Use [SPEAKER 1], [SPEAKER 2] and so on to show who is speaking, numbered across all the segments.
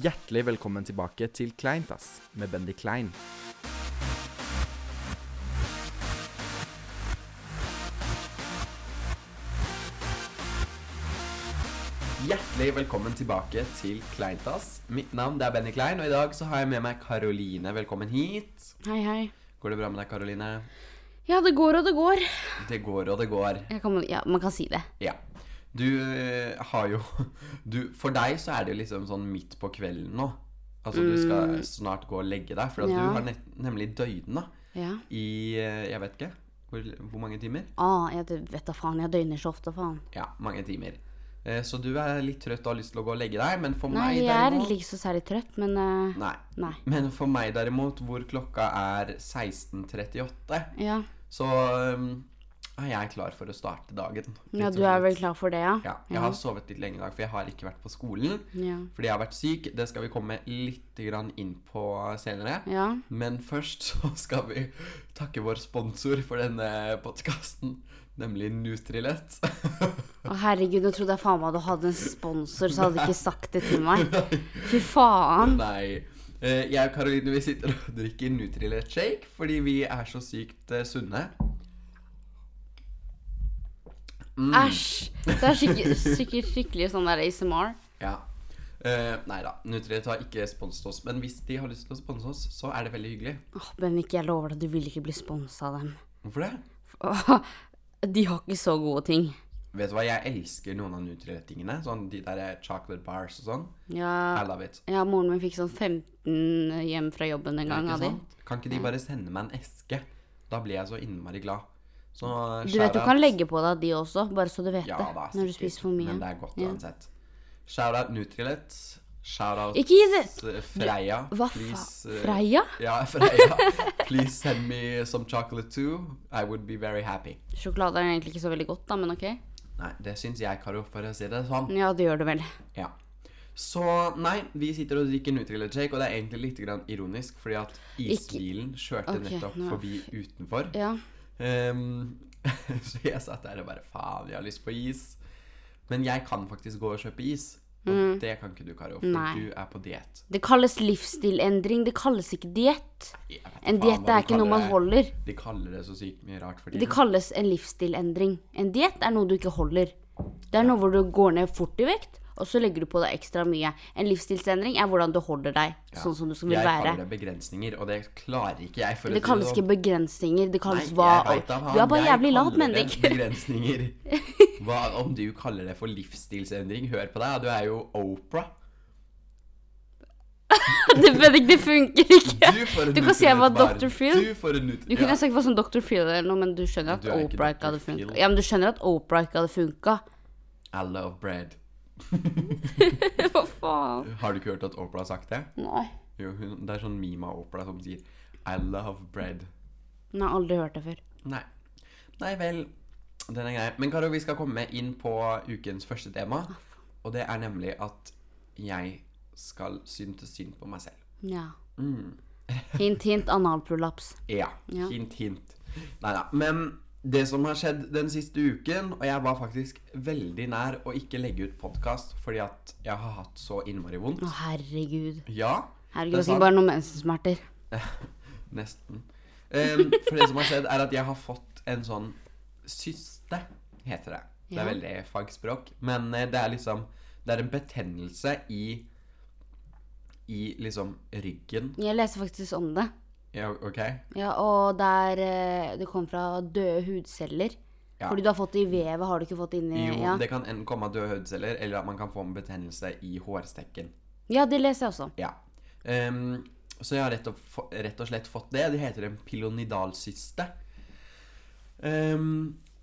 [SPEAKER 1] Hjertelig velkommen tilbake til Kleint, ass, med Bendy Klein. Hjertelig velkommen tilbake til Kleint, ass. Mitt navn det er Bendy Klein, og i dag så har jeg med meg Karoline. Velkommen hit.
[SPEAKER 2] Hei, hei.
[SPEAKER 1] Går det bra med deg, Karoline?
[SPEAKER 2] Ja, det går og det går.
[SPEAKER 1] Det går og det går.
[SPEAKER 2] Jeg kan, ja, man kan si det.
[SPEAKER 1] Ja. Du eh, har jo du, For deg så er det jo liksom sånn midt på kvelden nå. Altså du skal snart gå og legge deg, for at
[SPEAKER 2] Mm. Ja.
[SPEAKER 1] du har net, nemlig døgna
[SPEAKER 2] Ja.
[SPEAKER 1] i eh, Jeg vet ikke. Hvor, hvor mange timer?
[SPEAKER 2] Ah, jeg vet da faen, jeg døgner så ofte, faen.
[SPEAKER 1] Ja, mange timer. Eh, Så du er litt trøtt og har lyst til å gå og legge deg, men for
[SPEAKER 2] Nei,
[SPEAKER 1] meg
[SPEAKER 2] jeg er
[SPEAKER 1] derimot
[SPEAKER 2] egentlig ikke så særlig trøtt, men eh,
[SPEAKER 1] Nei.
[SPEAKER 2] Nei.
[SPEAKER 1] Men for meg derimot, hvor klokka er 16.38,
[SPEAKER 2] Ja.
[SPEAKER 1] så um, er jeg klar for å starte dagen.
[SPEAKER 2] ja,
[SPEAKER 1] rett og
[SPEAKER 2] du er
[SPEAKER 1] slett.
[SPEAKER 2] vel klar for det, ja?
[SPEAKER 1] Ja. Jeg har sovet litt lenge i dag, for jeg har ikke vært på skolen.
[SPEAKER 2] Ja.
[SPEAKER 1] Fordi jeg har vært syk, det skal vi komme litt grann inn på senere.
[SPEAKER 2] ja.
[SPEAKER 1] Men først så skal vi takke vår sponsor for denne podkasten, nemlig Nutrilett.
[SPEAKER 2] Å herregud, nå trodde jeg faen meg du hadde en sponsor, så hadde du ikke sagt det til meg. Fy faen.
[SPEAKER 1] Nei. Eh, Jeg og Karoline vi sitter og drikker Nutrilett shake fordi vi er så sykt eh, sunne. Mm.
[SPEAKER 2] Æsj. Det er sikkert, sikkert skikkelig sånn der ASMR.
[SPEAKER 1] Ja. Eh, nei da, Nutrilett har ikke sponset oss, men hvis de har lyst til å sponse oss, så er det veldig hyggelig.
[SPEAKER 2] Åh, Benvik, jeg lover deg, du vil ikke bli sponsa av dem.
[SPEAKER 1] Hvorfor det?
[SPEAKER 2] Åh, De har ikke så gode ting.
[SPEAKER 1] Vet du hva, jeg elsker noen av Nutrilett-tingene. Sånn de der eh, chocolate bars og sånn.
[SPEAKER 2] Ja.
[SPEAKER 1] I love it.
[SPEAKER 2] Ja, moren min fikk sånn 15 hjem fra jobben en gang
[SPEAKER 1] Ikke
[SPEAKER 2] av de.
[SPEAKER 1] sant? Kan ikke de bare sende meg en eske? Da blir jeg så innmari glad. Så uh,
[SPEAKER 2] Du vet du kan legge på deg de også, bare så du vet
[SPEAKER 1] ja,
[SPEAKER 2] det.
[SPEAKER 1] da,
[SPEAKER 2] når du
[SPEAKER 1] sikkert,
[SPEAKER 2] spiser for mye.
[SPEAKER 1] Men det er godt
[SPEAKER 2] Ja.
[SPEAKER 1] uansett. Shout-out Nutrilett. Shout-out
[SPEAKER 2] Ikke gi det!
[SPEAKER 1] s- Freia.
[SPEAKER 2] Hva
[SPEAKER 1] Please,
[SPEAKER 2] faen?
[SPEAKER 1] eh,
[SPEAKER 2] Freia?
[SPEAKER 1] Ja, Freia. Please send me some chocolate too. I would be very happy.
[SPEAKER 2] Sjokolade er egentlig ikke så veldig godt, da, men ok.
[SPEAKER 1] Nei, det syns jeg, Karo, for å si det sånn.
[SPEAKER 2] Ja, det gjør det vel.
[SPEAKER 1] Ja. Så nei, vi sitter og drikker Nutrilett shake, og det er egentlig litt grann ironisk, fordi at
[SPEAKER 2] Ikke-
[SPEAKER 1] isbilen kjørte
[SPEAKER 2] Ok,
[SPEAKER 1] nettopp
[SPEAKER 2] nå-
[SPEAKER 1] forbi utenfor.
[SPEAKER 2] Ja.
[SPEAKER 1] Ehm, så jeg satt der og bare faen, jeg har lyst på is. Men jeg kan faktisk gå og kjøpe is. Og det kan ikke du, Karo, for
[SPEAKER 2] Mm. Nei.
[SPEAKER 1] du er på diett.
[SPEAKER 2] Det kalles livsstilendring, det kalles ikke diett.
[SPEAKER 1] Jeg vet
[SPEAKER 2] En
[SPEAKER 1] faen
[SPEAKER 2] diett
[SPEAKER 1] hva
[SPEAKER 2] er
[SPEAKER 1] de
[SPEAKER 2] ikke noe
[SPEAKER 1] kaller
[SPEAKER 2] man
[SPEAKER 1] det.
[SPEAKER 2] holder.
[SPEAKER 1] De kaller det så sykt mye rart for
[SPEAKER 2] Det
[SPEAKER 1] tiden.
[SPEAKER 2] kalles en livsstilendring. En diett er noe du ikke holder. Det er noe hvor du går ned fort i vekt, og så legger du på deg ekstra mye. En livsstilsendring er hvordan du holder deg, sånn som du skal
[SPEAKER 1] jeg
[SPEAKER 2] vil være.
[SPEAKER 1] kaller det begrensninger, og det klarer ikke jeg. For å
[SPEAKER 2] Det
[SPEAKER 1] si
[SPEAKER 2] kalles
[SPEAKER 1] sånn.
[SPEAKER 2] ikke begrensninger. Det kalles
[SPEAKER 1] Nei,
[SPEAKER 2] hva
[SPEAKER 1] jeg vet da faen,
[SPEAKER 2] Du er bare
[SPEAKER 1] jeg
[SPEAKER 2] jævlig lat,
[SPEAKER 1] kaller det
[SPEAKER 2] Bendik.
[SPEAKER 1] Begrensninger. Hva om du kaller det for livsstilsendring? Hør på deg, du er jo Opera.
[SPEAKER 2] Det- Bendik, det funker ikke.
[SPEAKER 1] Du, for en
[SPEAKER 2] Du kan si jeg var
[SPEAKER 1] nutrinettbar.
[SPEAKER 2] Dr. Phil.
[SPEAKER 1] Du for en nut-
[SPEAKER 2] Du kunne
[SPEAKER 1] ja.
[SPEAKER 2] sagt hva som Dr. Phil eller noe, men du skjønner at
[SPEAKER 1] Du er ikke
[SPEAKER 2] Oprah ikke
[SPEAKER 1] Dr.
[SPEAKER 2] hadde
[SPEAKER 1] Phil.
[SPEAKER 2] funka. Ja, men du skjønner at Oprah ikke hadde funka.
[SPEAKER 1] I love bread.
[SPEAKER 2] Hva faen?
[SPEAKER 1] Har du ikke hørt at Opera har sagt det?
[SPEAKER 2] Nei.
[SPEAKER 1] Jo, hun, det er sånn meme av Opera som sier I love bread.
[SPEAKER 2] Nei, Jeg har aldri hørt det før.
[SPEAKER 1] Nei. Nei vel. Den er grei. Men Karo, vi skal komme inn på ukens første tema. Og det er nemlig at jeg skal syntes synd på meg selv.
[SPEAKER 2] Ja.
[SPEAKER 1] Mm.
[SPEAKER 2] Hint, hint, analprolaps.
[SPEAKER 1] Ja.
[SPEAKER 2] Ja.
[SPEAKER 1] Hint, hint. Nei da. Men det som har skjedd den siste uken, og jeg var faktisk veldig nær å ikke legge ut podkast fordi at jeg har hatt så innmari vondt.
[SPEAKER 2] Å, herregud.
[SPEAKER 1] Ja.
[SPEAKER 2] Herregud, det
[SPEAKER 1] sant.
[SPEAKER 2] er bare noen mensensmerter.
[SPEAKER 1] Nesten. Em, for det som har skjedd, er at jeg har fått en sånn syste, heter det. Det er
[SPEAKER 2] Ja.
[SPEAKER 1] veldig fagspråk. Men eh, det er liksom Det er en betennelse i I liksom ryggen.
[SPEAKER 2] Jeg leser faktisk om det.
[SPEAKER 1] Ja, OK?
[SPEAKER 2] Ja, og det er eh, Det kom fra døde hudceller.
[SPEAKER 1] Ja.
[SPEAKER 2] Fordi du har fått det i vevet, har du ikke fått det inni
[SPEAKER 1] Jo,
[SPEAKER 2] ja.
[SPEAKER 1] det kan enten komme av døde høydeceller, eller at man kan få en betennelse i hårstekken.
[SPEAKER 2] ja, det leser jeg også.
[SPEAKER 1] Ja. Em, så jeg har rett og, få- rett og slett fått det. Det heter en pilonidalsyste. Em,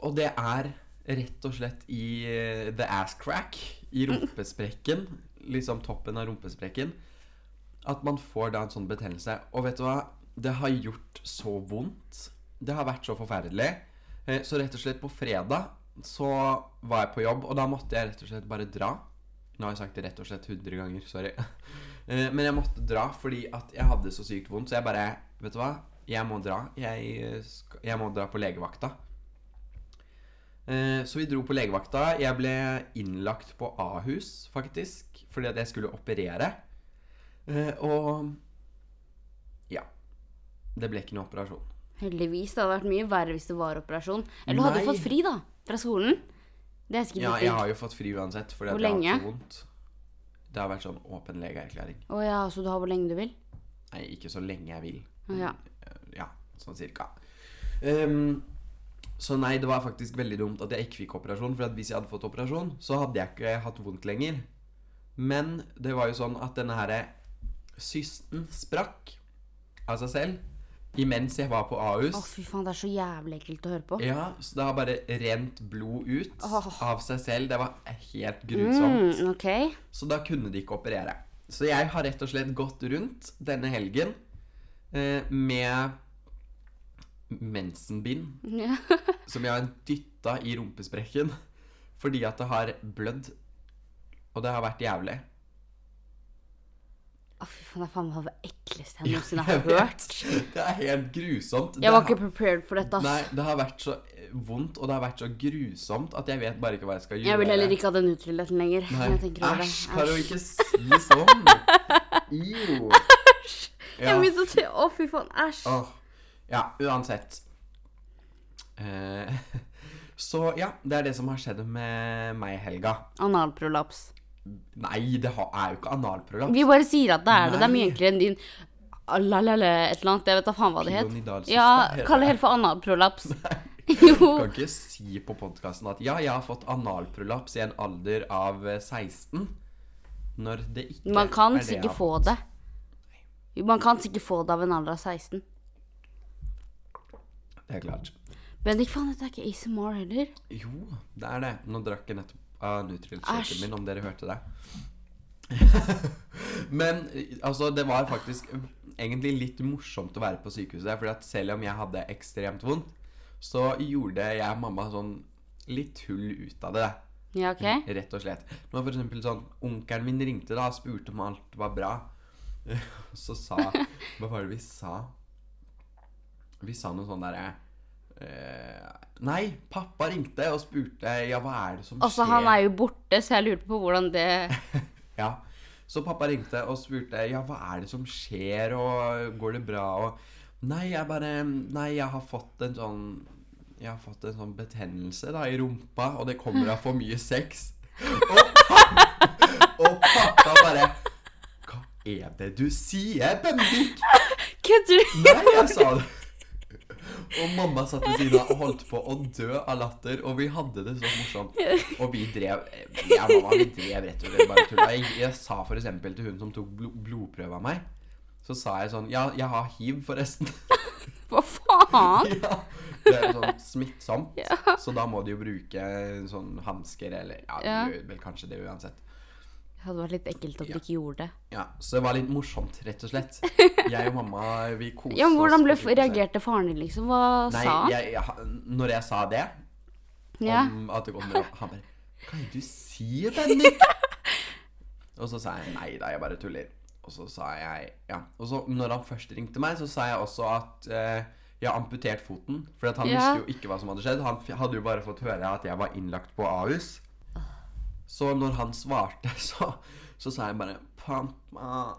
[SPEAKER 1] og det er rett og slett i eh, the ass crack, i rumpesprekken, liksom toppen av rumpesprekken, at man får da en sånn betennelse. Og vet du hva? Det har gjort så vondt. Det har vært så forferdelig. Eh, Så rett og slett på fredag så var jeg på jobb, og da måtte jeg rett og slett bare dra. Nå har jeg sagt det rett og slett 100 ganger, sorry. Eh, Men jeg måtte dra fordi at jeg hadde så sykt vondt, så jeg bare Vet du hva? Jeg må dra. Jeg, eh, sk- jeg må dra på legevakta. Eh, Så vi dro på legevakta. Jeg ble innlagt på Ahus, faktisk, fordi at jeg skulle operere. Eh, og ja. Det ble ikke noe operasjon.
[SPEAKER 2] Heldigvis. Det hadde vært mye verre hvis det var operasjon. Eller du hadde
[SPEAKER 1] Nei.
[SPEAKER 2] fått fri, da. Fra skolen. Det er sikkert
[SPEAKER 1] Ja,
[SPEAKER 2] litt
[SPEAKER 1] jeg
[SPEAKER 2] digg.
[SPEAKER 1] har jo fått fri uansett, fordi
[SPEAKER 2] Hvor
[SPEAKER 1] at jeg har
[SPEAKER 2] lenge?
[SPEAKER 1] hatt så vondt. Det har vært sånn åpen legeerklæring.
[SPEAKER 2] Å ja, så du har hvor lenge du vil?
[SPEAKER 1] Nei, ikke så lenge jeg vil.
[SPEAKER 2] Å ja.
[SPEAKER 1] Ja, sånn cirka. Ehm, så nei, det var faktisk veldig dumt at jeg ikke fikk operasjon, for at hvis jeg hadde fått operasjon, så hadde jeg ikke hatt vondt lenger. Men det var jo sånn at denne her systen sprakk av seg selv imens jeg var på Ahus.
[SPEAKER 2] Å, fy faen, det er så jævlig ekkelt å høre på.
[SPEAKER 1] Ja, så det har bare rent blod ut
[SPEAKER 2] Åh.
[SPEAKER 1] av seg selv. Det var helt grusomt.
[SPEAKER 2] Mm, ok.
[SPEAKER 1] Så da kunne de ikke operere. Så jeg har rett og slett gått rundt denne helgen eh, med mensenbind
[SPEAKER 2] Ja.
[SPEAKER 1] som jeg har dytta i rumpesprekken fordi at det har blødd. Og det har vært jævlig.
[SPEAKER 2] Å, fy faen, det er faen meg det ekleste jeg noensinne
[SPEAKER 1] Jeg
[SPEAKER 2] har hørt.
[SPEAKER 1] vet. Det er helt grusomt.
[SPEAKER 2] Jeg var
[SPEAKER 1] Det
[SPEAKER 2] ikke prepared for dette,
[SPEAKER 1] har- Nei,
[SPEAKER 2] ass.
[SPEAKER 1] det har vært så eh, vondt, og det har vært så grusomt at jeg vet bare ikke hva jeg skal gjøre.
[SPEAKER 2] Jeg vil heller ikke ha den utrillheten lenger.
[SPEAKER 1] Nei.
[SPEAKER 2] når jeg tenker over det.
[SPEAKER 1] Æsj, Karo,
[SPEAKER 2] Æsj.
[SPEAKER 1] ikke si sånn! Jo. Æsj! Ja.
[SPEAKER 2] Jeg begynte å se Å, fy faen. Æsj.
[SPEAKER 1] Åh, Ja, uansett. Eh, så ja, det er det som har skjedd med meg i helga.
[SPEAKER 2] Analprolaps.
[SPEAKER 1] Nei, det har, er jo ikke analprolaps.
[SPEAKER 2] Vi bare sier at det er det. Det er mye
[SPEAKER 1] Nei.
[SPEAKER 2] enklere enn din ah, alalala, et eller annet. Jeg vet da faen hva det het.
[SPEAKER 1] Pilonidalsyste,
[SPEAKER 2] Ja,
[SPEAKER 1] heter
[SPEAKER 2] kall det
[SPEAKER 1] det.
[SPEAKER 2] helt for analprolaps. Jo.
[SPEAKER 1] Du kan ikke si på podkasten at ja, jeg har fått analprolaps i en alder av eh, 16. Når det ikke
[SPEAKER 2] Man kan
[SPEAKER 1] er det jeg
[SPEAKER 2] sikkert
[SPEAKER 1] har
[SPEAKER 2] få
[SPEAKER 1] fått.
[SPEAKER 2] det. Jo, Man kan sikkert få det av en alder av 16.
[SPEAKER 1] Det er klart.
[SPEAKER 2] Bendik, faen, dette er ikke ASMR heller.
[SPEAKER 1] Jo, det er det. Nå drakk jeg nettopp av Nutril-shaken
[SPEAKER 2] Æsj.
[SPEAKER 1] min, om dere hørte det. Men altså, det var faktisk egentlig litt morsomt å være på sykehuset. For at selv om jeg hadde ekstremt vondt, så gjorde jeg mamma sånn litt hull ut av det.
[SPEAKER 2] Ja, OK?
[SPEAKER 1] Rett og slett. Det var for eksempel sånn Onkelen min ringte da og spurte om alt var bra. Så sa Hva var det vi sa? Vi sa noe sånn derre eh, Nei, pappa ringte og spurte Ja, hva er det som
[SPEAKER 2] Altså,
[SPEAKER 1] skjer?
[SPEAKER 2] han er jo borte, så jeg lurte på hvordan det
[SPEAKER 1] Ja. Så pappa ringte og spurte Ja, hva er det som skjer, og går det bra, og Nei, jeg bare Nei, jeg har fått en sånn Jeg har fått en sånn betennelse da i rumpa, og det kommer av for mye sex. Og pappa, og pappa bare Hva er det du sier, Bendik?
[SPEAKER 2] Kødder du?
[SPEAKER 1] Nei, jeg sa det. Og mamma satt ved siden av og holdt på å dø av latter, og vi hadde det så morsomt. Og vi drev Jeg og mamma vi drev rett og slett bare tulla. Jeg, jeg sa for eksempel til hun som tok blo- blodprøve av meg, så sa jeg sånn Ja, jeg har hiv, forresten.
[SPEAKER 2] Hva faen?
[SPEAKER 1] Ja, det er jo sånn smittsomt,
[SPEAKER 2] Ja.
[SPEAKER 1] så da må du jo bruke sånn hansker eller Ja,
[SPEAKER 2] Ja.
[SPEAKER 1] du gjør vel kanskje det uansett.
[SPEAKER 2] Det hadde vært litt ekkelt om du
[SPEAKER 1] Ja.
[SPEAKER 2] ikke gjorde det.
[SPEAKER 1] Ja, Så det var litt morsomt, rett og slett. Jeg og mamma, vi koste
[SPEAKER 2] Ja, men Hvordan ble,
[SPEAKER 1] på sykehuset.
[SPEAKER 2] reagerte faren din, liksom? Hva
[SPEAKER 1] Nei,
[SPEAKER 2] sa han?
[SPEAKER 1] jeg, jeg, når jeg sa det
[SPEAKER 2] Ja.
[SPEAKER 1] om at det kommer Han bare Hva er det du sier, Bendik? og så sa jeg nei da, jeg bare tuller. Og så sa jeg ja. Og så når han først ringte meg, så sa jeg også at eh, jeg har amputert foten. For at han
[SPEAKER 2] Ja.
[SPEAKER 1] visste jo ikke hva som hadde skjedd. Han f- hadde jo bare fått høre at jeg var innlagt på Ahus. Så når han svarte, så, så sa jeg bare Pappa,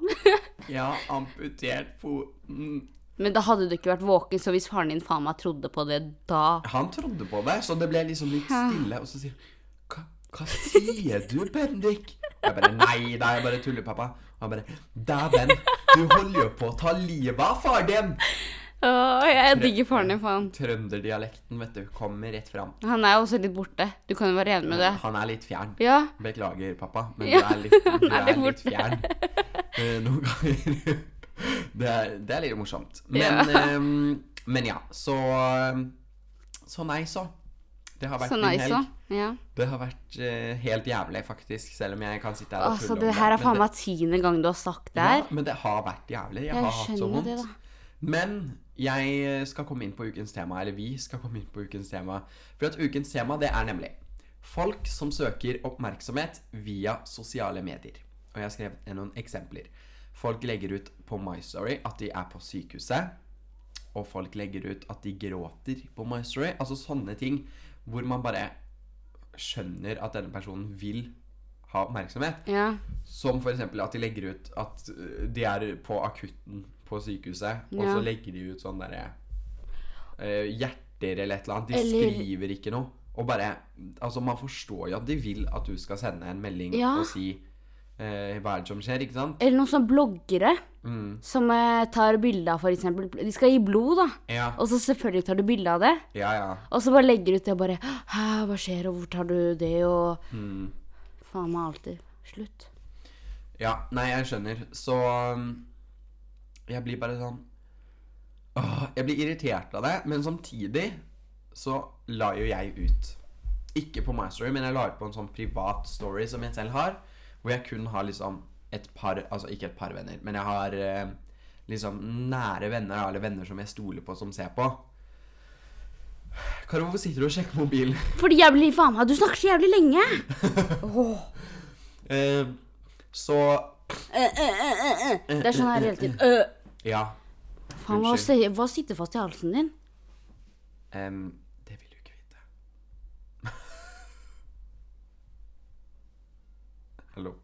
[SPEAKER 1] jeg har amputert foten.
[SPEAKER 2] Men da hadde du ikke vært våken, så hvis faren din faen meg trodde på det da
[SPEAKER 1] Han trodde på meg, så det ble liksom litt stille. Og så sier han Hva, hva sier du, Bendik? Og jeg bare Nei da, jeg bare tuller, pappa. Og han bare Dæven, du holder jo på å ta livet av far din!
[SPEAKER 2] Åh, jeg digger faren din, faen.
[SPEAKER 1] Trønderdialekten, vet du, kommer rett fram.
[SPEAKER 2] Han er jo også litt borte. Du kan jo være enig med det.
[SPEAKER 1] Han er litt fjern.
[SPEAKER 2] Ja.
[SPEAKER 1] Beklager, pappa, men
[SPEAKER 2] Ja,
[SPEAKER 1] du er litt, du
[SPEAKER 2] han er
[SPEAKER 1] er
[SPEAKER 2] litt
[SPEAKER 1] litt,
[SPEAKER 2] borte.
[SPEAKER 1] fjern eh, noen ganger. Det er, det er litt morsomt. Men
[SPEAKER 2] Ja.
[SPEAKER 1] ja, men ja så eh, Så nei, så. Det har vært
[SPEAKER 2] Så
[SPEAKER 1] min
[SPEAKER 2] nice
[SPEAKER 1] helg.
[SPEAKER 2] òg. Ja.
[SPEAKER 1] Det har vært eh, helt jævlig, faktisk. Selv om jeg kan sitte her og
[SPEAKER 2] Altså,
[SPEAKER 1] tulle
[SPEAKER 2] det
[SPEAKER 1] om
[SPEAKER 2] her er
[SPEAKER 1] men
[SPEAKER 2] faen meg tiende gang du har sagt det
[SPEAKER 1] det, ja,
[SPEAKER 2] her.
[SPEAKER 1] men det har vært jævlig. Jeg,
[SPEAKER 2] Jeg
[SPEAKER 1] har hatt så
[SPEAKER 2] skjønner jo
[SPEAKER 1] vondt.
[SPEAKER 2] det,
[SPEAKER 1] Men jeg skal komme inn på ukens tema, eller vi skal komme inn på ukens tema. For at ukens tema, det er nemlig folk som søker oppmerksomhet via sosiale medier. Og jeg har skrevet ned noen eksempler. Folk legger ut på MyStory at de er på sykehuset. Og folk legger ut at de gråter på MyStory. Altså sånne ting hvor man bare skjønner at denne personen vil ha oppmerksomhet.
[SPEAKER 2] Ja.
[SPEAKER 1] Som f.eks. at de legger ut at øh, de er på akutten på sykehuset, og
[SPEAKER 2] Ja.
[SPEAKER 1] så legger de ut sånn derre øh, Hjerter eller et eller annet. De
[SPEAKER 2] Eller-
[SPEAKER 1] skriver ikke noe. Og bare Altså, man forstår jo at de vil at du skal sende en melding
[SPEAKER 2] Ja.
[SPEAKER 1] og si øh, hva er det som skjer, ikke sant?
[SPEAKER 2] Eller noen sånne bloggere
[SPEAKER 1] Mm.
[SPEAKER 2] som eh, tar bilde av f.eks. De skal gi blod, da.
[SPEAKER 1] Ja,
[SPEAKER 2] Og så selvfølgelig tar du bilde av det.
[SPEAKER 1] ja, ja.
[SPEAKER 2] Og så bare legger du ut det og bare Hæ, hva skjer, og hvor tar du det, og
[SPEAKER 1] Mm.
[SPEAKER 2] Faen meg alltid. Slutt.
[SPEAKER 1] Ja, nei, jeg skjønner. Så um, jeg blir bare sånn Åh, Jeg blir irritert av det, men samtidig så la jo jeg ut. Ikke på My Story, men jeg la ut på en sånn privat story som jeg selv har, hvor jeg kun har liksom et par Altså ikke et par venner, men jeg har eh, liksom nære venner, da, eller venner som jeg stoler på, som ser på. Karo, hvorfor sitter du og sjekker mobilen?
[SPEAKER 2] Fordi jeg blir faen meg Du snakker så jævlig lenge!
[SPEAKER 1] Eh, så
[SPEAKER 2] Eh,
[SPEAKER 1] eh,
[SPEAKER 2] Det er sånn her hele tiden. Øh.
[SPEAKER 1] Ja.
[SPEAKER 2] Faen, hva,
[SPEAKER 1] Unnskyld.
[SPEAKER 2] hva sitter fast i halsen din?
[SPEAKER 1] Em, det vil du ikke vite. Hallo.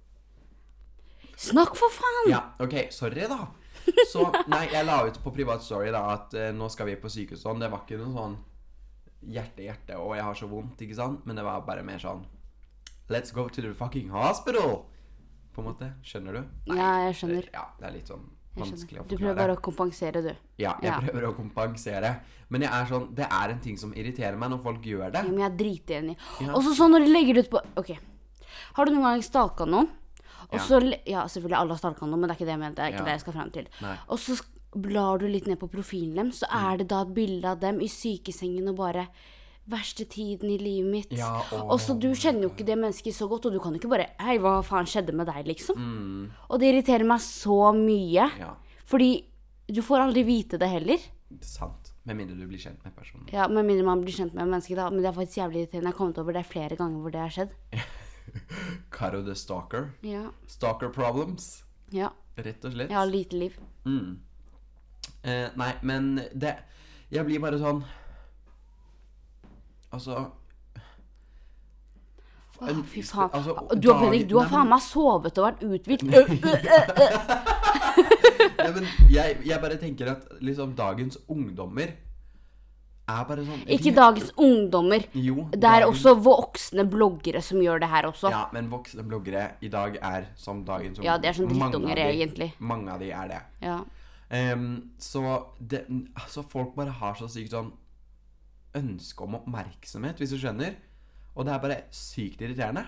[SPEAKER 2] Snakk, for faen!
[SPEAKER 1] Ja, ok, sorry da. Så, nei, jeg la ut på privat story da at eh, nå skal vi på sykehus sånn. Det var ikke noe sånn hjerte, hjerte, og jeg har så vondt, ikke sant? Men det var bare mer sånn, let's go to the fucking hospital, på en måte. Skjønner du?
[SPEAKER 2] Ja, jeg skjønner.
[SPEAKER 1] Ja, det er litt sånn
[SPEAKER 2] Jeg
[SPEAKER 1] vanskelig å
[SPEAKER 2] skjønner. Du prøver
[SPEAKER 1] forklare.
[SPEAKER 2] bare å kompensere, du.
[SPEAKER 1] Ja, jeg
[SPEAKER 2] Ja.
[SPEAKER 1] prøver å kompensere. Men jeg er sånn, det er en ting som irriterer meg når folk gjør det.
[SPEAKER 2] Ja, men jeg er dritenig.
[SPEAKER 1] Ja.
[SPEAKER 2] Og så sånn når de legger det ut på Ok. Har du noen gang stalka noen? Og
[SPEAKER 1] Ja.
[SPEAKER 2] så le- Ja, selvfølgelig alle har stalka noen, men det er ikke det jeg mente. Det er
[SPEAKER 1] Ja.
[SPEAKER 2] ikke det jeg skal frem til.
[SPEAKER 1] Nei.
[SPEAKER 2] Og så sk- blar du litt ned på profilen dem, så
[SPEAKER 1] Mm.
[SPEAKER 2] er det da et bilde av dem i sykesengen og bare Verste tiden i livet mitt.
[SPEAKER 1] Ja, åh.
[SPEAKER 2] og så Du kjenner jo ikke det mennesket så godt, og du kan jo ikke bare Hei, hva faen skjedde med deg,
[SPEAKER 1] Mm.
[SPEAKER 2] liksom? Og det irriterer meg så mye.
[SPEAKER 1] Ja.
[SPEAKER 2] Fordi du får aldri vite det heller.
[SPEAKER 1] Sant. Med mindre du blir kjent med personen.
[SPEAKER 2] Ja, Med mindre man blir kjent med mennesket, da. Men det er faktisk jævlig irriterende. Jeg har kommet over det flere ganger hvor det har skjedd.
[SPEAKER 1] Caro the stalker.
[SPEAKER 2] Ja.
[SPEAKER 1] Stalker problems,
[SPEAKER 2] ja.
[SPEAKER 1] rett og slett.
[SPEAKER 2] Jeg har lite liv.
[SPEAKER 1] Mm. Eh, nei, men det Jeg blir bare sånn Altså
[SPEAKER 2] Åh,
[SPEAKER 1] en-
[SPEAKER 2] fy faen.
[SPEAKER 1] altså,
[SPEAKER 2] du har Bendik,
[SPEAKER 1] dagen-
[SPEAKER 2] du har
[SPEAKER 1] Nei,
[SPEAKER 2] faen meg sovet og vært uthvilt. Øh, øh, øh.
[SPEAKER 1] Nei, men jeg, jeg bare tenker at liksom dagens ungdommer er bare sånn
[SPEAKER 2] Ikke dagens ungdommer.
[SPEAKER 1] Jo.
[SPEAKER 2] Det er
[SPEAKER 1] dagens-
[SPEAKER 2] også voksne bloggere som gjør det her også.
[SPEAKER 1] Ja, men voksne bloggere i dag er som dagens ungdom.
[SPEAKER 2] Ja, de er som
[SPEAKER 1] Mange av
[SPEAKER 2] drittunger,
[SPEAKER 1] de-
[SPEAKER 2] egentlig.
[SPEAKER 1] Mange av de er det.
[SPEAKER 2] Ja.
[SPEAKER 1] Ehm, så det, altså folk bare har så sykt sånn ønske om oppmerksomhet, hvis du skjønner. Og det er bare sykt irriterende.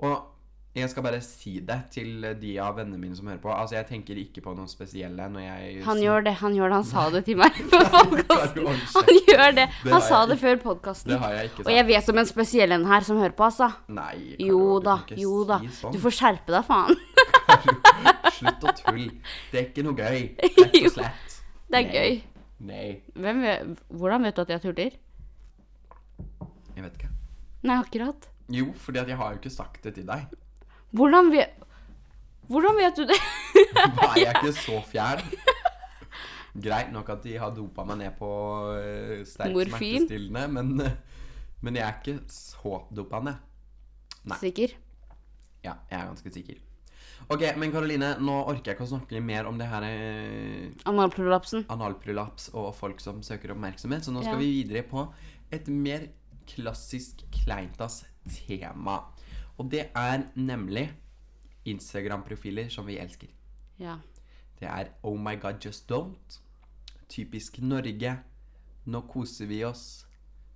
[SPEAKER 1] Og jeg skal bare si det til de av vennene mine som hører på. Altså, jeg tenker ikke på noen spesielle når jeg
[SPEAKER 2] Han gjør det. Han gjør det. Han sa det til meg på podkasten. Han gjør det.
[SPEAKER 1] Det har
[SPEAKER 2] Han sa
[SPEAKER 1] jeg
[SPEAKER 2] det før
[SPEAKER 1] Det
[SPEAKER 2] podkasten.
[SPEAKER 1] har jeg ikke
[SPEAKER 2] Og
[SPEAKER 1] sagt.
[SPEAKER 2] jeg vet om en spesiell en her som hører på, altså.
[SPEAKER 1] Nei, Karo,
[SPEAKER 2] Jo
[SPEAKER 1] du
[SPEAKER 2] da,
[SPEAKER 1] kan ikke
[SPEAKER 2] jo da.
[SPEAKER 1] Si sånn.
[SPEAKER 2] Du får skjerpe deg, faen.
[SPEAKER 1] Slutt å tulle. Det er ikke noe gøy. Rett
[SPEAKER 2] Jo,
[SPEAKER 1] og slett.
[SPEAKER 2] Det er
[SPEAKER 1] Nei.
[SPEAKER 2] gøy.
[SPEAKER 1] Nei.
[SPEAKER 2] Hvem vet, hvordan vet du at jeg tuller?
[SPEAKER 1] Jeg vet ikke.
[SPEAKER 2] Nei, akkurat.
[SPEAKER 1] Jo, fordi at jeg har jo ikke sagt det til deg.
[SPEAKER 2] Hvordan vet, hvordan vet du det?
[SPEAKER 1] Da er jeg ikke så fjern. Greit nok at de har dopa meg ned på uh, sterk
[SPEAKER 2] Morfin.
[SPEAKER 1] smertestillende, men, eh, men jeg er ikke så dopa ned. Nei.
[SPEAKER 2] Sikker?
[SPEAKER 1] Ja, jeg er ganske sikker. Ok, men Karoline, nå orker jeg ikke å snakke mer om det her eh,
[SPEAKER 2] Analprolapsen.
[SPEAKER 1] analprolaps og folk som søker oppmerksomhet, så nå skal
[SPEAKER 2] Ja.
[SPEAKER 1] vi videre på et mer klassisk kleintas tema. Og det er nemlig Instagram-profiler som vi elsker.
[SPEAKER 2] Ja.
[SPEAKER 1] Det er Oh my god, just don't. Typisk Norge. Nå koser vi oss.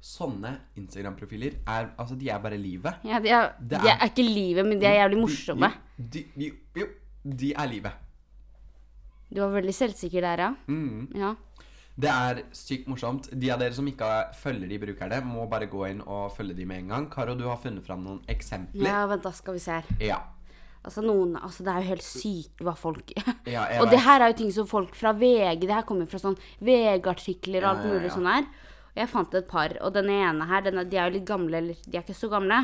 [SPEAKER 1] Sånne Instagram-profiler er Altså, de er bare livet.
[SPEAKER 2] ja de, er,
[SPEAKER 1] Det
[SPEAKER 2] de
[SPEAKER 1] er-
[SPEAKER 2] er ikke livet, men de er jævlig morsomme.
[SPEAKER 1] De, de, jo, de er livet.
[SPEAKER 2] Du var veldig selvsikker der, ja.
[SPEAKER 1] Mm.
[SPEAKER 2] ja.
[SPEAKER 1] Det er sykt morsomt. De av dere som ikke følger de brukerne, må bare gå inn og følge de med en gang. Karo, du har funnet fram noen eksempler.
[SPEAKER 2] Ja, vent da, skal vi se her.
[SPEAKER 1] Ja.
[SPEAKER 2] Altså, noen, altså det er jo helt sykt hva folk
[SPEAKER 1] Ja, jeg
[SPEAKER 2] Og det
[SPEAKER 1] vet.
[SPEAKER 2] her er jo ting som folk fra VG Det her kommer fra sånn VG-artikler og alt
[SPEAKER 1] Ja, ja,
[SPEAKER 2] mulig
[SPEAKER 1] ja.
[SPEAKER 2] sånn her. Og jeg fant et par, og den ene her, den er, de er jo litt gamle, eller de er ikke så gamle.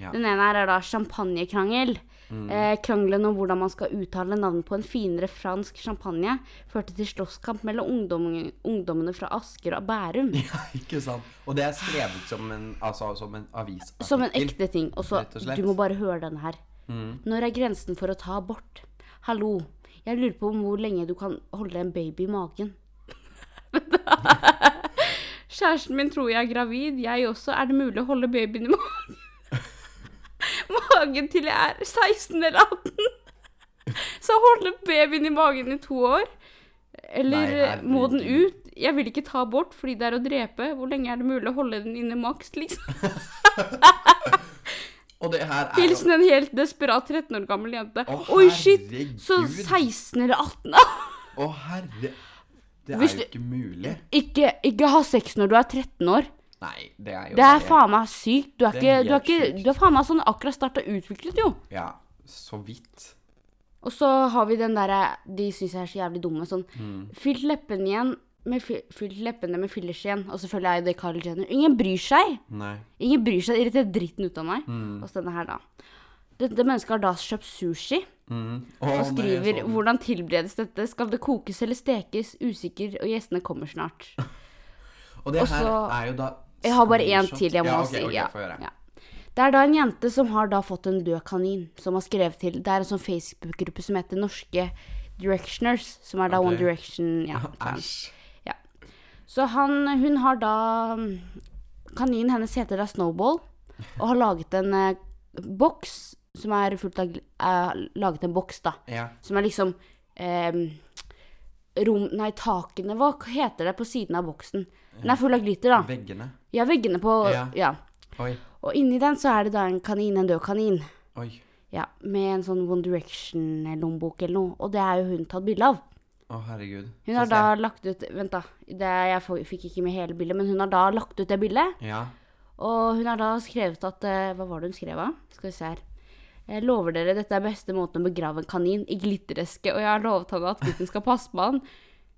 [SPEAKER 1] Ja. Mm.
[SPEAKER 2] Den ene her er da champagnekrangel. Eh, krangelen om hvordan man skal uttale navnet på en finere fransk champagne, førte til slåsskamp mellom ungdommen, ungdommene fra Asker og Bærum.
[SPEAKER 1] Ja, ikke sant? Og det er skrevet som en, altså, som en avisartikkel.
[SPEAKER 2] Som en ekte ting. Og så,
[SPEAKER 1] Rett og slett. Mm.
[SPEAKER 2] du må bare høre denne her. Når er grensen for å ta abort? Hallo, jeg lurer på om hvor lenge du kan holde en baby i magen. Kjæresten min tror jeg er gravid, jeg også. Er det mulig å holde babyen i magen? magen til jeg er 16 eller 18? Så holde babyen i magen i to år? Eller
[SPEAKER 1] Nei, herregud.
[SPEAKER 2] må den ut? Jeg vil ikke ta abort fordi det er å drepe. Hvor lenge er det mulig å holde den inne maks, liksom?
[SPEAKER 1] Og det her er jo
[SPEAKER 2] Hilsen en helt desperat 13 år gammel jente.
[SPEAKER 1] Å,
[SPEAKER 2] Oi, shit! Så
[SPEAKER 1] herregud.
[SPEAKER 2] 16 eller 18 ah!
[SPEAKER 1] Å, herre Det er
[SPEAKER 2] Hvis
[SPEAKER 1] jo
[SPEAKER 2] du-
[SPEAKER 1] ikke mulig.
[SPEAKER 2] ikke, ikke ha sex når du er 13 år.
[SPEAKER 1] Nei, det er jo
[SPEAKER 2] Det er
[SPEAKER 1] bare-
[SPEAKER 2] faen meg sykt. Du er,
[SPEAKER 1] Det er
[SPEAKER 2] ikke, du er,
[SPEAKER 1] helt
[SPEAKER 2] ikke,
[SPEAKER 1] sykt.
[SPEAKER 2] du er faen meg sånn akkurat starta utviklet, jo.
[SPEAKER 1] Ja, så vidt.
[SPEAKER 2] Og så har vi den derre De syns jeg er så jævlig dumme. Sånn
[SPEAKER 1] Mm.
[SPEAKER 2] Fylt leppene igjen med, fy- fylt leppene med fillers igjen. Og selvfølgelig er jo det Carl Jenner. Ingen bryr seg.
[SPEAKER 1] Nei.
[SPEAKER 2] Ingen bryr seg. Det irriterer dritten ut av meg.
[SPEAKER 1] Mm.
[SPEAKER 2] Og så denne her, da. Dette mennesket har da kjøpt sushi.
[SPEAKER 1] Mm. Å,
[SPEAKER 2] Og
[SPEAKER 1] nei,
[SPEAKER 2] skriver
[SPEAKER 1] jeg så den.
[SPEAKER 2] 'Hvordan tilberedes dette? Skal det kokes eller stekes? Usikker, og gjestene kommer snart'.
[SPEAKER 1] Og det
[SPEAKER 2] og
[SPEAKER 1] her
[SPEAKER 2] så-
[SPEAKER 1] er jo da
[SPEAKER 2] Jeg har bare én
[SPEAKER 1] screenshot.
[SPEAKER 2] til jeg må
[SPEAKER 1] ja, ok,
[SPEAKER 2] si.
[SPEAKER 1] ok,
[SPEAKER 2] ja.
[SPEAKER 1] få høre.
[SPEAKER 2] ja. Det er da en jente som har da fått en død kanin, som har skrevet til Det er en sånn Facebook-gruppe som heter Norske Directioners, som er da
[SPEAKER 1] Ok.
[SPEAKER 2] One Direction ja, fan.
[SPEAKER 1] Æsj.
[SPEAKER 2] ja. Så han, hun har da Kaninen hennes heter da Snowball, og har laget en eh, boks som er fullt av gl- eh, Laget en boks, da.
[SPEAKER 1] Ja.
[SPEAKER 2] Som er liksom ehm, rom, Nei, takene. Hva heter det på siden av boksen? Den er full av glitter, da.
[SPEAKER 1] Veggene.
[SPEAKER 2] Ja, veggene på ja.
[SPEAKER 1] Ja. Oi.
[SPEAKER 2] Og inni den så er det da en kanin, en død kanin.
[SPEAKER 1] Oi.
[SPEAKER 2] Ja, Med en sånn One Direction-lommebok eller noe. Og det er jo hun tatt bilde av.
[SPEAKER 1] Å, herregud.
[SPEAKER 2] Hun
[SPEAKER 1] Få
[SPEAKER 2] har
[SPEAKER 1] se.
[SPEAKER 2] da lagt ut Vent, da. Det, jeg får- fikk ikke med hele bildet, men hun har da lagt ut det bildet.
[SPEAKER 1] Ja.
[SPEAKER 2] Og hun har da skrevet at eh, Hva var det hun skrev av? Skal vi se her. Jeg lover dere, dette er beste måten å begrave en kanin i glittereske, og jeg har lovet henne at gutten skal passe på han.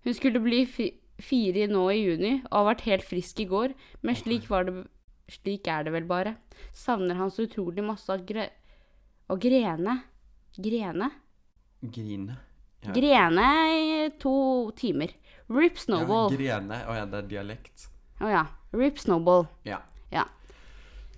[SPEAKER 2] Hun skulle bli fi fire nå i juni, og har vært helt frisk i går, men slik var det Slik er det vel bare. Savner han så utrolig masse av gre... Og grene. Grene?
[SPEAKER 1] Grine. Ja.
[SPEAKER 2] Grene i to timer. Rip Snowball.
[SPEAKER 1] Ja, grene. Å ja, det er dialekt.
[SPEAKER 2] Å ja. Rip Snowball.
[SPEAKER 1] Ja.
[SPEAKER 2] Ja.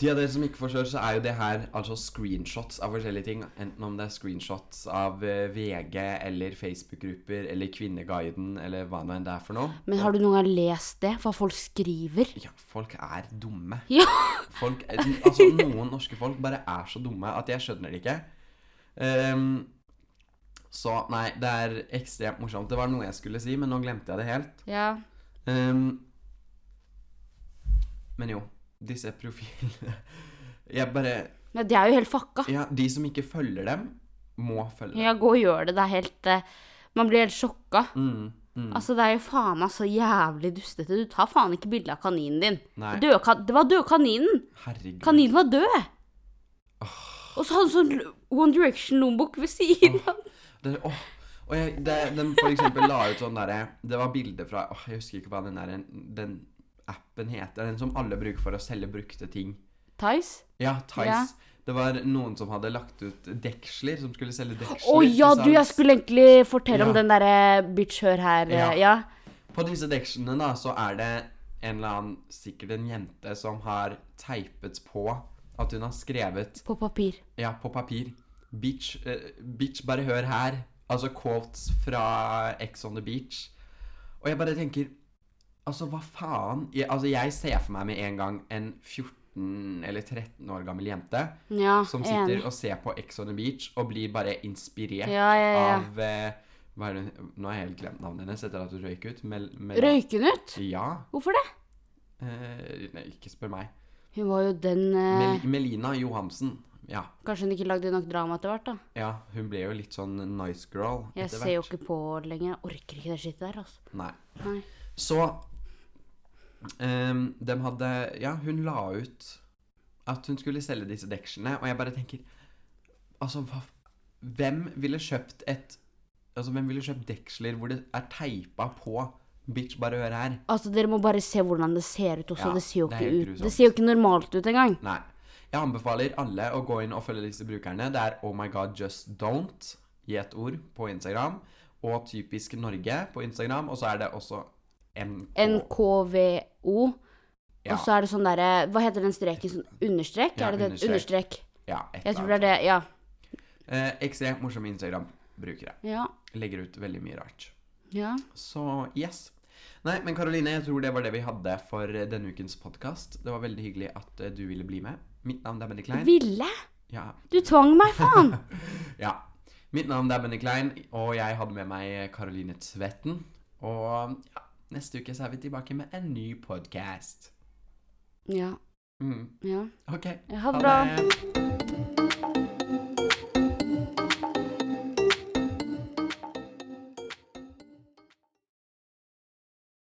[SPEAKER 1] De av dere som ikke forstår, så er jo det her altså screenshots av forskjellige ting. Enten om det er screenshots av eh, VG eller Facebook-grupper eller Kvinneguiden eller hva nå enn det er for noe.
[SPEAKER 2] Men har du noen gang lest det? Hva folk skriver?
[SPEAKER 1] Ja, folk er dumme.
[SPEAKER 2] Ja!
[SPEAKER 1] Folk, er- altså Noen norske folk bare er så dumme at jeg skjønner det ikke. Ehm, så nei, det er ekstremt morsomt. Det var noe jeg skulle si, men nå glemte jeg det helt.
[SPEAKER 2] Ja.
[SPEAKER 1] Ehm, men jo, disse profilene Jeg bare
[SPEAKER 2] Ja, det er jo helt fucka.
[SPEAKER 1] Ja, de som ikke følger dem, må følge dem.
[SPEAKER 2] Ja, gå og gjør det. Det er helt eh, Man blir helt sjokka.
[SPEAKER 1] Mm, mm,
[SPEAKER 2] Altså, det er jo faen meg så jævlig dustete. Du tar faen ikke bilde av kaninen din.
[SPEAKER 1] Nei.
[SPEAKER 2] Død, kan, det var død kaninen!
[SPEAKER 1] herregud.
[SPEAKER 2] Kaninen var død! Og så hadde han sånn l- One Direction-lommebok ved siden av.
[SPEAKER 1] Det, åh. Og jeg, det, den for eksempel la ut sånn derre Det var bilder fra åh, Jeg husker ikke hva den, der, den appen heter. Den som alle bruker for å selge brukte ting.
[SPEAKER 2] Theis?
[SPEAKER 1] Ja, Tice.
[SPEAKER 2] Ja.
[SPEAKER 1] Det var noen som hadde lagt ut deksler, som skulle selge deksler.
[SPEAKER 2] Å ja,
[SPEAKER 1] til
[SPEAKER 2] du, jeg
[SPEAKER 1] salgs.
[SPEAKER 2] skulle egentlig fortelle om
[SPEAKER 1] Ja.
[SPEAKER 2] den derre bitch hør her. eh,
[SPEAKER 1] Ja.
[SPEAKER 2] Ja.
[SPEAKER 1] På disse dekslene da, så er det en eller annen, sikkert en jente, som har teipet på at hun har skrevet
[SPEAKER 2] På papir.
[SPEAKER 1] Ja, på papir. Bitch, eh, bitch, bare hør her. Altså quotes fra Ex on the Beach. Og jeg bare tenker Altså, hva faen? Jeg, altså, jeg ser for meg med en gang en 14 eller 13 år gammel jente
[SPEAKER 2] Ja,
[SPEAKER 1] som sitter
[SPEAKER 2] enig.
[SPEAKER 1] og ser på Ex on the Beach og blir bare inspirert
[SPEAKER 2] Ja, ja, ja.
[SPEAKER 1] av eh, hva er det, Nå har jeg helt glemt navnet hennes etter at hun røyk ut. Mel, Mel-
[SPEAKER 2] Røyken ut?
[SPEAKER 1] Ja.
[SPEAKER 2] Hvorfor det?
[SPEAKER 1] Eh, nei, ikke spør meg.
[SPEAKER 2] Hun var jo den eh,
[SPEAKER 1] Mel, Melina Johansen. Ja.
[SPEAKER 2] Kanskje hun ikke lagde nok drama etter hvert, da.
[SPEAKER 1] Ja, hun ble jo litt sånn nice girl
[SPEAKER 2] Jeg
[SPEAKER 1] etter
[SPEAKER 2] ser jo
[SPEAKER 1] hvert.
[SPEAKER 2] ikke på lenger. Jeg orker ikke det skittet der, altså.
[SPEAKER 1] Nei.
[SPEAKER 2] Nei.
[SPEAKER 1] Så ehm, De hadde Ja, hun la ut at hun skulle selge disse dekslene, og jeg bare tenker Altså, hva Hvem ville kjøpt et Altså, hvem ville kjøpt deksler hvor det er teipa på Bitch, bare hør her.
[SPEAKER 2] Altså, dere må bare se hvordan det ser ut også.
[SPEAKER 1] Ja,
[SPEAKER 2] det ser jo
[SPEAKER 1] det er
[SPEAKER 2] ikke
[SPEAKER 1] helt
[SPEAKER 2] ut.
[SPEAKER 1] grusomt.
[SPEAKER 2] Det ser jo ikke normalt ut engang.
[SPEAKER 1] Nei. Jeg anbefaler alle å gå inn og følge disse brukerne. Det er Oh my god just don't i ett ord på Instagram. Og Typisk Norge på Instagram. Og så er det også NK.
[SPEAKER 2] NKVO.
[SPEAKER 1] Ja.
[SPEAKER 2] Og så er det sånn derre Hva heter den streken? Sånn understrek?
[SPEAKER 1] Ja,
[SPEAKER 2] er det det?
[SPEAKER 1] understrek.
[SPEAKER 2] Understrek.
[SPEAKER 1] Ja, et
[SPEAKER 2] Jeg
[SPEAKER 1] eller
[SPEAKER 2] tror det er
[SPEAKER 1] annet.
[SPEAKER 2] det. Ja.
[SPEAKER 1] Eh, ekstremt morsomme Instagram-brukere.
[SPEAKER 2] Ja.
[SPEAKER 1] Legger ut veldig mye rart.
[SPEAKER 2] ja.
[SPEAKER 1] Så yes. Nei, men Karoline, jeg tror det var det vi hadde for denne ukens podkast. Det var veldig hyggelig at eh, du ville bli med. Mitt navn er Benny Klein.
[SPEAKER 2] Ville!
[SPEAKER 1] Ja.
[SPEAKER 2] Du tvang meg, faen!
[SPEAKER 1] ja. Mitt navn er Benny Klein, og jeg hadde med meg Karoline Tvetten. Og ja, neste uke så er vi tilbake med en ny podkast.
[SPEAKER 2] Ja.
[SPEAKER 1] Mm.
[SPEAKER 2] Ja.
[SPEAKER 1] OK.
[SPEAKER 2] Ha det bra.
[SPEAKER 1] det.